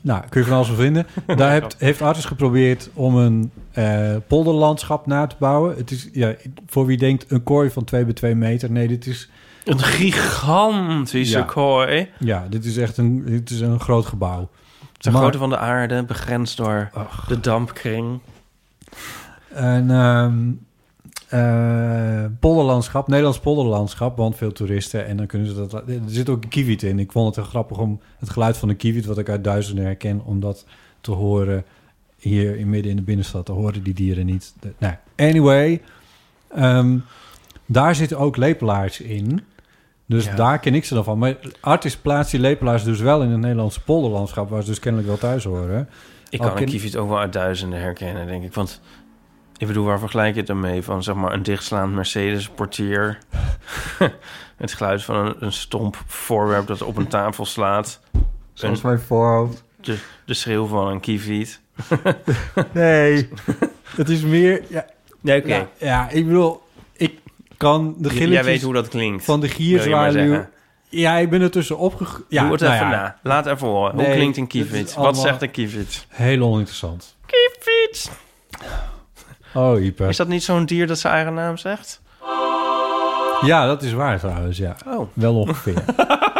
Nou, kun je van alles van vinden. Daar hebt, heeft Artis geprobeerd om een eh, polderlandschap na te bouwen. Het is, ja, voor wie denkt, een kooi van 2 bij 2 meter. Nee, dit is, Een gigantische Ja. kooi. ja, dit is echt een, dit is een groot gebouw. De Maar- grootte van de aarde, begrensd door Ach. de dampkring. Een ehm, eh, polderlandschap, Nederlands polderlandschap, want veel toeristen. En dan kunnen ze dat... Er zit ook een kiwiet in. Ik vond het heel grappig om het geluid van de kiwiet, wat ik uit duizenden herken, om dat te horen hier in midden in de binnenstad. Dan horen die dieren niet. De- nou, anyway, ehm, daar zitten ook lepelaars in. Dus Ja. daar ken ik ze dan van. Maar artis plaatst die lepelaars dus wel in het Nederlandse polderlandschap... waar ze dus kennelijk wel thuis horen. Ik kan Oh, een ken- kievit ook wel uit duizenden herkennen, denk ik. Want ik bedoel, waar vergelijk je het dan mee? Van zeg maar een dichtslaand Mercedes-portier. het geluid van een, een stomp voorwerp dat op een tafel slaat. Een- mijn voorhoofd. de, de schreeuw van een kievit. Nee, het is meer... Ja, Nee, ja, ja, ik bedoel, ik kan de Jij weet gilletjes hoe dat klinkt. van de wil je gierzwaluw... maar Ja, ik ben er tussen opgegroeid. Ja, Doe het nou even ja, na. Laat even horen. Nee, Hoe klinkt een dit is kievit? Wat allemaal- zegt een kievit? Heel oninteressant. Kievit! Oh, Ipe. Is dat niet zo'n dier dat zijn eigen naam zegt? Ja, dat is waar trouwens, ja. Oh. Wel ongeveer. Ja.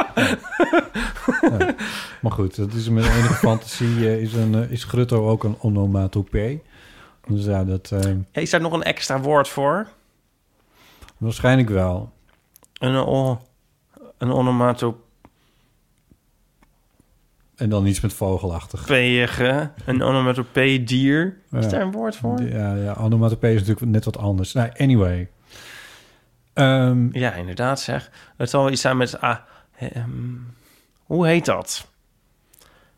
Ja. Maar goed, dat is mijn enige fantasie. eh, Is, een, eh, is Grutto ook een onomatopee? Dus ja, dat eh, Is daar nog een extra woord voor? waarschijnlijk wel. Een, o- een onomatopeëge, En dan iets met vogelachtig. een onomatopee-dier. Ja. Is daar een woord voor? Ja, ja, onomatopee is natuurlijk net wat anders. Nou, anyway. Ehm, Ja, inderdaad zeg. Het zal wel iets zijn met... Ah, ehm, hoe heet dat?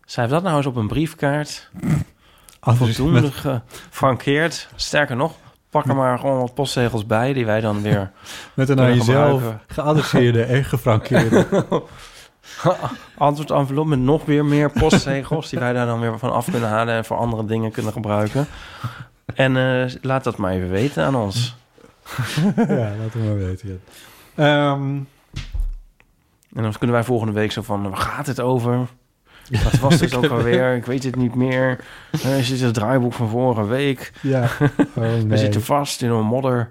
Schrijf dat nou eens op een briefkaart. anders Voldoende met- gefrankeerd. Sterker nog, pak er maar gewoon wat postzegels bij... die wij dan weer Met een aan Kunnen jezelf gebruiken. geadresseerde en gefrankeerde. Antwoord envelop met nog weer meer postzegels... die wij daar dan weer van af kunnen halen... en voor andere dingen kunnen gebruiken. En eh, laat dat maar even weten aan ons. ja, laat het maar weten. ja. Ehm, En dan kunnen wij volgende week zo van... waar gaat het over? Wat was het ook alweer? Ik weet het niet meer. Er zit het draaiboek van vorige week. ja. Oh, We nee. zitten vast in een modder.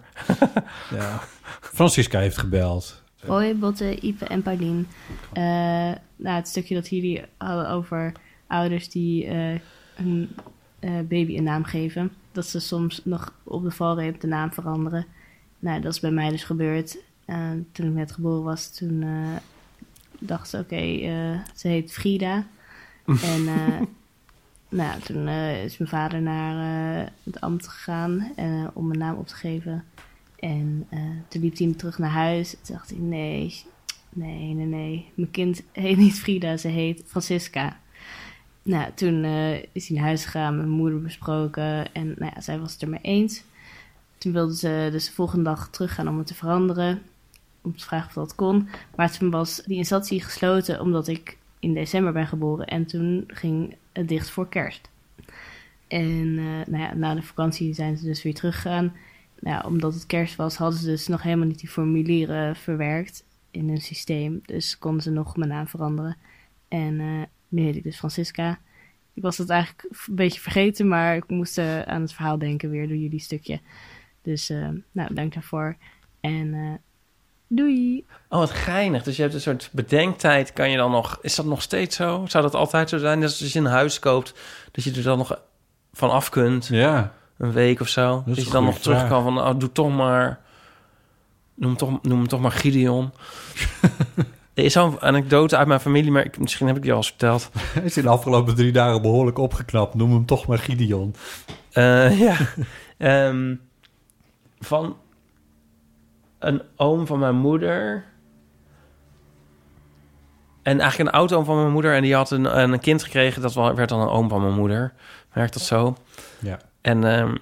Ja. Francisca heeft gebeld. Hoi, Botte, Ipe en Paulien. Eh, nou, het stukje dat jullie hadden over ouders die eh, hun eh, baby een naam geven. Dat ze soms nog op de valreep de naam veranderen. Nou, dat is bij mij dus gebeurd. Eh, toen ik net geboren was, toen eh, dacht ze, oké, eh, ze heet Frida. en eh, nou, ja, toen eh, is mijn vader naar eh, het ambt gegaan eh, om een naam op te geven. En eh, toen liep hij hem terug naar huis. Toen dacht hij, nee, nee, nee, nee. Mijn kind heet niet Frida, ze heet Francisca. Nou, toen eh, is hij naar huis gegaan, met mijn moeder besproken. En nou ja, zij was het er mee eens. Toen wilde ze dus de volgende dag teruggaan om het te veranderen. Om te vragen of dat kon. Maar toen was die instantie gesloten omdat ik in december ben geboren. En toen ging het dicht voor kerst. En eh, nou ja, na de vakantie zijn ze dus weer teruggegaan. Nou, ja, omdat het kerst was, hadden ze dus nog helemaal niet die formulieren verwerkt in hun systeem. Dus konden ze nog mijn naam veranderen. En eh, nu heet ik dus Francisca. Ik was dat eigenlijk f- een beetje vergeten, maar ik moest eh, aan het verhaal denken weer door jullie stukje. Dus eh, nou, dank daarvoor. En eh, doei! Oh, wat geinig. Dus je hebt een soort bedenktijd. Kan je dan nog... Is dat nog steeds zo? Zou dat altijd zo zijn? Net als als je een huis koopt... dat je er dan nog van af kunt. Ja. Een week of zo. is Dat, je een dan goede nog terug vraag. kan van... Oh, doe toch maar... Noem, toch, noem hem toch maar Gideon. er is zo'n anekdote uit mijn familie... maar ik, misschien heb ik die al eens verteld. Hij is in de afgelopen drie dagen behoorlijk opgeknapt. Noem hem toch maar Gideon. Eh, ja. Ehm, van een oom van mijn moeder. En eigenlijk een oud-oom van mijn moeder. En die had een, een kind gekregen. Dat wa- werd dan een oom van mijn moeder. Werkt dat zo? Ja. En ehm,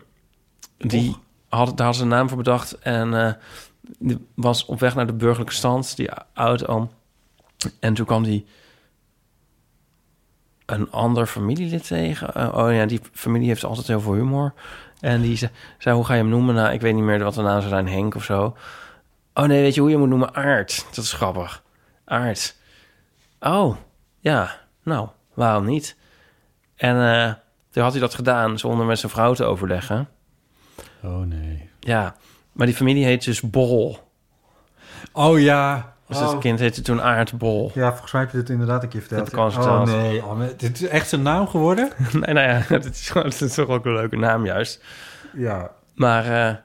die had, daar hadden ze een naam voor bedacht. En eh, die was op weg naar de burgerlijke stand, die oud-oom. En toen kwam die een ander familielid tegen. Eh, oh ja, die familie heeft altijd heel veel humor. En die ze- zei, hoe ga je hem noemen? Nou, ik weet niet meer wat de naam zou zijn, Henk of zo. Oh nee, weet je hoe je hem moet noemen? Aard. Dat is grappig. Aard. Oh, ja. Nou, waarom niet? En eh, toen had hij dat gedaan zonder met zijn vrouw te overleggen. Oh nee. Ja, maar die familie heet dus Bol. Oh ja. Dus dat kind heette toen Aardbol. Ja, volgens mij heb je dit inderdaad een keer verteld. Heb ik al eens verteld. Oh nee, oh, maar dit is echt zijn naam geworden? nee, nou ja, dat is, gewoon- dat is toch ook een leuke naam juist. ja. Maar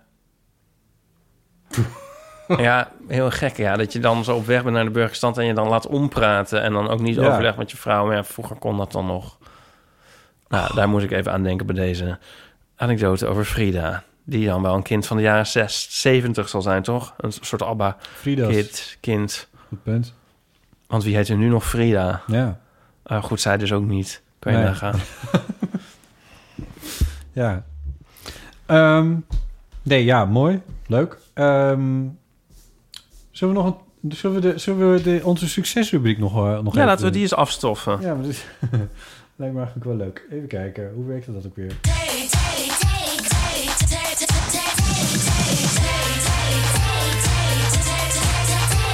eh, ja, heel gek ja. Dat je dan zo op weg bent naar de burgerstand en je dan laat ompraten. En dan ook niet Ja. overleg met je vrouw. Maar ja, vroeger kon dat dan nog. Nou, daar moet ik even aan denken bij deze anekdote over Frida. Die dan wel een kind van de jaren 6, 70 zal zijn, toch? Een soort ABBA-kind, Frida. kind. Goed punt. Want wie heet er nu nog Frida? Ja. Ah, goed, zij dus ook niet. Kan je Nee. nagaan. Ja. Ehm, nee, ja, mooi. Leuk. Ehm, zullen we nog een... Zullen we, de, zullen we de, onze succesrubriek nog, eh, nog even Ja, laten we doen? die eens afstoffen. Ja, maar dit lijkt me eigenlijk wel leuk. Even kijken, hoe werkt dat ook weer?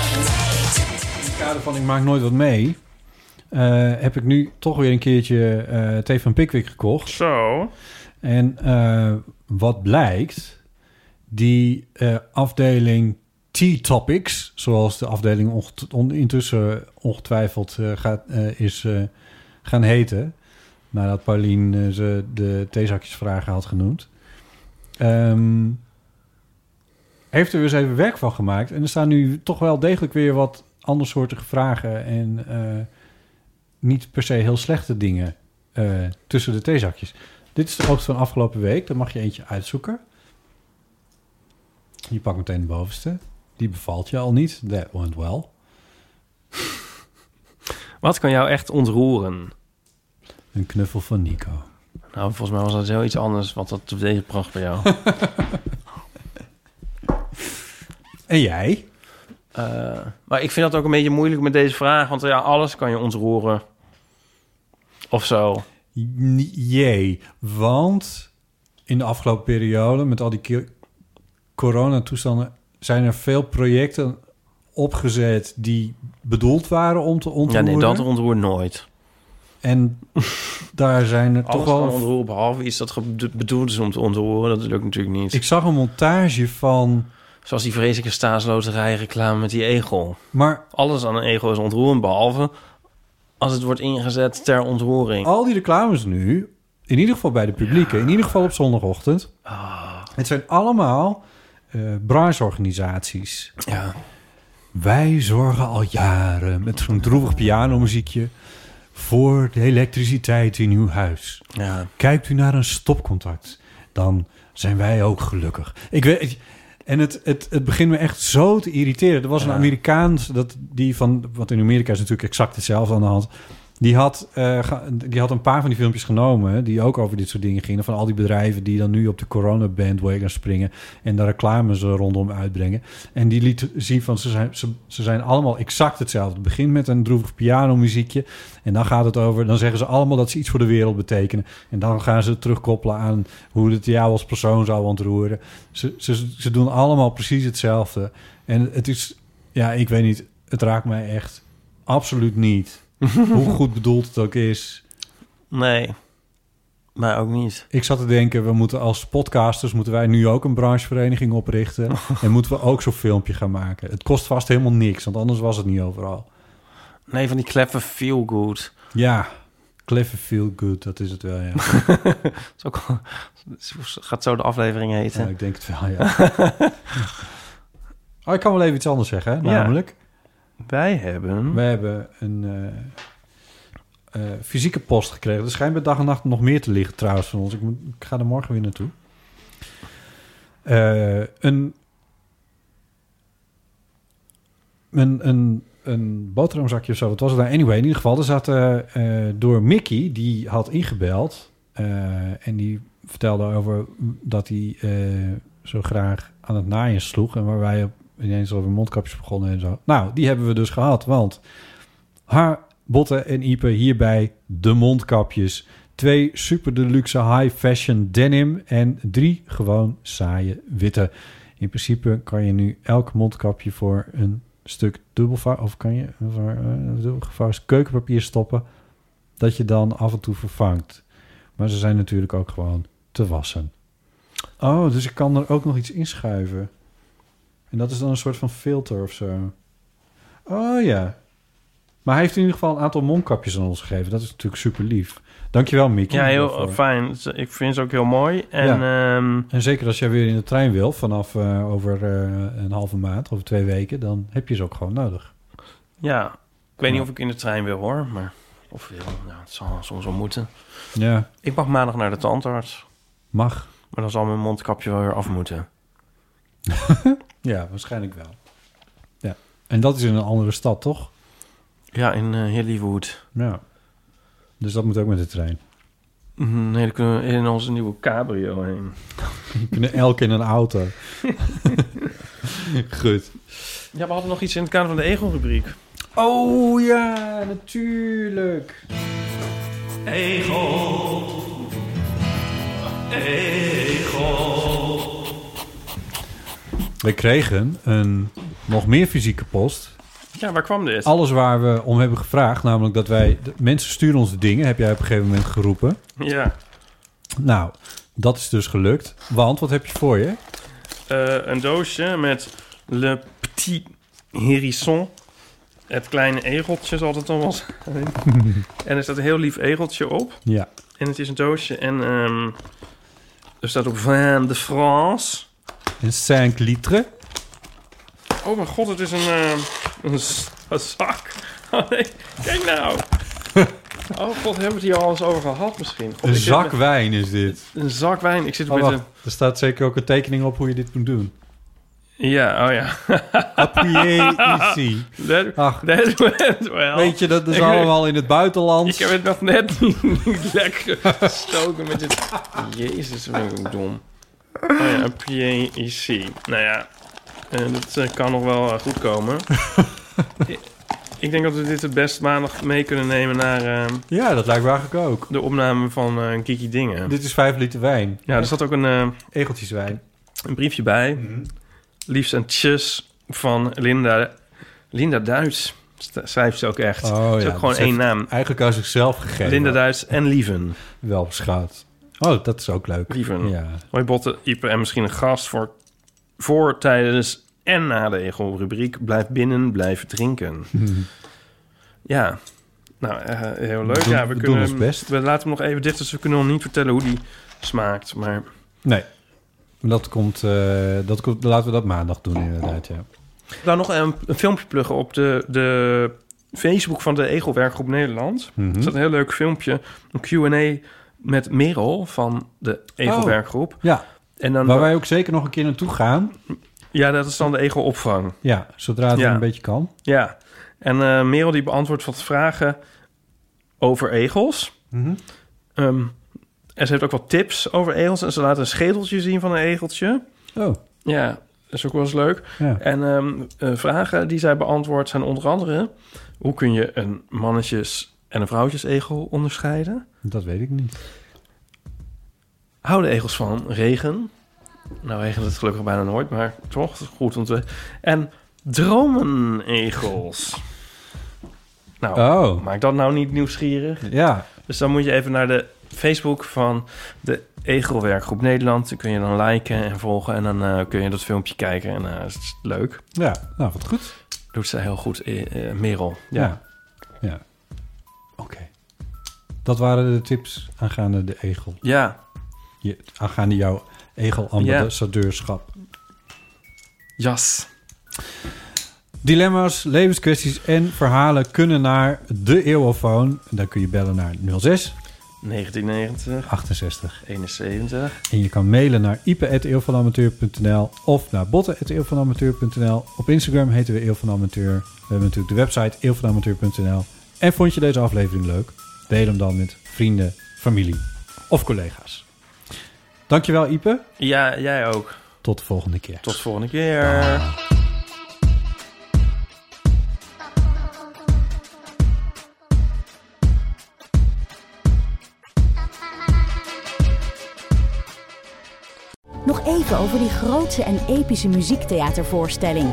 In het kader van ik maak nooit wat mee... eh, heb ik nu toch weer een keertje eh thee van Pickwick gekocht. Zo. En eh, wat blijkt, die eh, afdeling T-Topics, zoals de afdeling onget- on- intussen ongetwijfeld eh, gaat, eh, is eh, gaan heten, nadat Paulien eh, ze de theezakjesvragen had genoemd, Ehm, heeft er weer eens even werk van gemaakt. En er staan nu toch wel degelijk weer wat andersoortige vragen. En eh, niet per se heel slechte dingen eh, tussen de theezakjes. Dit is de hoogste van afgelopen week. Daar mag je eentje uitzoeken. Je pakt meteen de bovenste. Die bevalt je al niet. That went well. Wat kan jou echt ontroeren? Een knuffel van Nico. Nou, volgens mij was dat zoiets anders, want dat deze pracht bij jou. En jij? Eh, maar ik vind dat ook een beetje moeilijk met deze vraag, want ja, alles kan je ontroeren. Of zo. N- Jee, want in de afgelopen periode met al die ki- coronatoestanden zijn er veel projecten opgezet die bedoeld waren om te Ja, ontroeren. nee, dat ontroert nooit. En daar zijn er toch Alles wel... kan ontroeren, behalve iets dat ge- bedoeld is om te ontroeren. Dat lukt natuurlijk niet. Ik zag een montage van... Zoals die vreselijke staatsloterij reclame met die egel. Maar Alles aan een egel is ontroerend, behalve als het wordt ingezet ter ontroering. al die reclames nu, in ieder geval bij de publieke, in ieder geval op zondagochtend... Het zijn allemaal eh brancheorganisaties... Ja. Wij zorgen al jaren met zo'n droevig pianomuziekje voor de elektriciteit in uw huis. ja. Kijkt u naar een stopcontact, dan zijn wij ook gelukkig. Ik weet, en het, het, het begint me echt zo te irriteren. Er was een Ja. Amerikaans, dat, die van, want in Amerika is natuurlijk exact hetzelfde aan de hand. Die had, eh, ge- die had een paar van die filmpjes genomen... die ook over dit soort dingen gingen. Van al die bedrijven die dan nu op de corona-bandwagon springen... en daar reclames eh, rondom uitbrengen. En die liet zien van ze zijn, ze, ze zijn allemaal exact hetzelfde. Het begint met een droevig pianomuziekje. En dan gaat het over... dan zeggen ze allemaal dat ze iets voor de wereld betekenen. En dan gaan ze het terugkoppelen aan hoe het jou als persoon zou ontroeren. Ze, ze, ze doen allemaal precies hetzelfde. En het is... Ja, ik weet niet. Het raakt mij echt absoluut niet hoe goed bedoeld het ook is. Nee. Maar ook niet. Ik zat te denken, we moeten als podcasters moeten wij nu ook een branchevereniging oprichten. En moeten we ook zo'n filmpje gaan maken. Het kost vast helemaal niks, want anders was het niet overal. Nee, van die clever feel good. Ja, Clever Feel Good, dat is het wel, ja. Dat is ook, dat gaat zo de aflevering Ja, heten. ik denk het wel, ja. Oh, ik kan wel even iets anders zeggen, hè? Ja. namelijk. Wij hebben... We hebben een eh, eh, fysieke post gekregen. Er schijnt bij dag en nacht nog meer te liggen trouwens van ons. Ik, moet, ik ga er morgen weer naartoe. Eh, een, een, een, een boterhamzakje of zo. Wat was het nou? Anyway, in ieder geval. Er zat eh, eh, door Mickey, die had ingebeld. eh, en die vertelde over dat hij eh, zo graag aan het naaien sloeg. En waar wij op ineens over mondkapjes begonnen en zo. Nou, die hebben we dus gehad, want haar botten en Ipe hierbij de mondkapjes. Twee super deluxe high fashion denim en drie gewoon saaie witte. In principe kan je nu elk mondkapje voor een stuk dubbelvouw of kan je voor eh, dubbelgevouwen keukenpapier stoppen dat je dan af en toe vervangt. Maar ze zijn natuurlijk ook gewoon te wassen. Oh, dus ik kan er ook nog iets inschuiven. En dat is dan een soort van filter of zo. Oh ja. Maar hij heeft in ieder geval een aantal mondkapjes aan ons gegeven. Dat is natuurlijk super lief. Dankjewel, Mickey. Ja, heel daarvoor. fijn. Ik vind ze ook heel mooi. En ehm, En zeker als jij weer in de trein wil vanaf eh, over eh, een halve maand, over twee weken, dan heb je ze ook gewoon nodig. ja, ik weet niet of ik in de trein wil hoor, maar... Of wil, nou, het zal soms wel moeten. Ja, Ik mag maandag naar de tandarts, mag. maar dan zal mijn mondkapje wel weer af moeten. Ja, waarschijnlijk wel. Ja. En dat is in een andere stad, toch? Ja, in eh, Hollywood. Ja. Dus dat moet ook met de trein. Mhm, Nee, dan kunnen we in onze nieuwe cabrio heen. We kunnen elk in een auto. Goed. Ja, we hadden nog iets in het kader van de Egel-rubriek. Oh ja, natuurlijk. We kregen een nog meer fysieke post Ja, waar kwam dit? alles waar we om hebben gevraagd, namelijk dat wij de- mensen sturen ons dingen, heb jij op een gegeven moment geroepen. Ja, Nou, dat is dus gelukt. Want wat heb je voor je? eh, een doosje met Le Petit Hérisson. Het kleine egeltje zal het dan wel zijn. en er staat een heel lief egeltje op. Ja, En het is een doosje en ehm, Er staat ook Vin de France. En 5 litre. Oh mijn god, het is een, eh, een, s- een zak. Oh nee, kijk nou. Oh god, hebben we het hier al eens over gehad misschien? God, Een ik zit zak met- wijn is dit. Een zak wijn. Ik zit Oh, met wacht. een... Er staat zeker ook een tekening op hoe je dit moet doen. Ja, oh ja. Appuyé ici. That, Ach, that went well. weet je, dat is Ik- allemaal in het Ik buitenland. heb het nog net niet, niet lekker gestoken met dit... Jezus, wat ben ik ook dom. Oh ja, een PAEC. Nou ja, eh, dat eh, kan nog wel eh, goed komen. ik, ik denk dat we dit het best maandag mee kunnen nemen naar eh, Ja, dat lijkt me eigenlijk ook. de opname van eh, Kiki Dingen. Dit is 5 liter wijn. Ja, er zat ook een, eh, Egeltjeswijn. een briefje bij. Mhm. Liefst en tjus van Linda, Linda Duits. St- Schrijft ze ook echt. Oh, Het is ja, ook gewoon dat is één echt- naam. Eigenlijk aan zichzelf gegeven. Linda Duits en Lieven. Wel schat. Oh, dat is ook leuk. Lieven. Ja. Hoi Botten, Ipe en misschien een gast voor, voor tijdens en na de ego-rubriek. Blijf binnen, blijf drinken. Ja, nou, eh, heel leuk. We doen- ja, we doen kunnen, ons best. We laten hem nog even dicht, dus we kunnen nog niet vertellen hoe die smaakt. Maar Nee. Dat komt, eh, dat komt, laten we dat maandag doen inderdaad, ja. dan nog een, een filmpje pluggen op de, de Facebook van de Ego-werkgroep Nederland. Mhm. Er staat een heel leuk filmpje, een Q&A met Merel van de Ego-werkgroep. Ja, En dan, Oh. waar wij ook zeker nog een keer naartoe gaan. ja, dat is dan de Ego-opvang. Ja, zodra het Ja. een beetje kan. Ja, en eh, Merel die beantwoordt wat vragen over egels. Mhm. Ehm, en ze heeft ook wat tips over egels. En ze laat een schedeltje zien van een egeltje. Oh, Ja, dat is ook wel eens leuk. ja. En ehm, eh, vragen die zij beantwoordt zijn onder andere... hoe kun je een mannetjes- en een vrouwtjesegel onderscheiden? Dat weet ik niet. Houden egels van regen? Nou, regent het gelukkig bijna nooit, maar toch het is goed om te... En dromenegels. Nou, Oh, Maak dat nou niet nieuwsgierig. ja. Dus dan moet je even naar de Facebook van de Egelwerkgroep Nederland. Dan kun je dan liken en volgen. En dan eh, kun je dat filmpje kijken. En eh, het is leuk. Ja, nou, wat goed. Doet ze heel goed, eh, eh, Merel. Ja. Ja. Ja. Oké. Dat waren de tips aangaande de egel. ja. Je, aangaande jouw egelambassadeurschap. Jas. Dilemma's, levenskwesties en verhalen kunnen naar de Eeuwofoon. Daar kun je bellen naar 06 1990, 68. 71. En je kan mailen naar ipe.eeuwvanamateur.nl of naar botten.eeuwvanamateur.nl. Op Instagram heten we Eeuw van Amateur. We hebben natuurlijk de website eeuwvanamateur.nl. En vond je deze aflevering leuk? Deel hem dan met vrienden, familie of collega's. Dankjewel Ipe. Ja, jij ook. Tot de volgende keer. Tot volgende keer. Nog even over die grootse en epische muziektheatervoorstelling.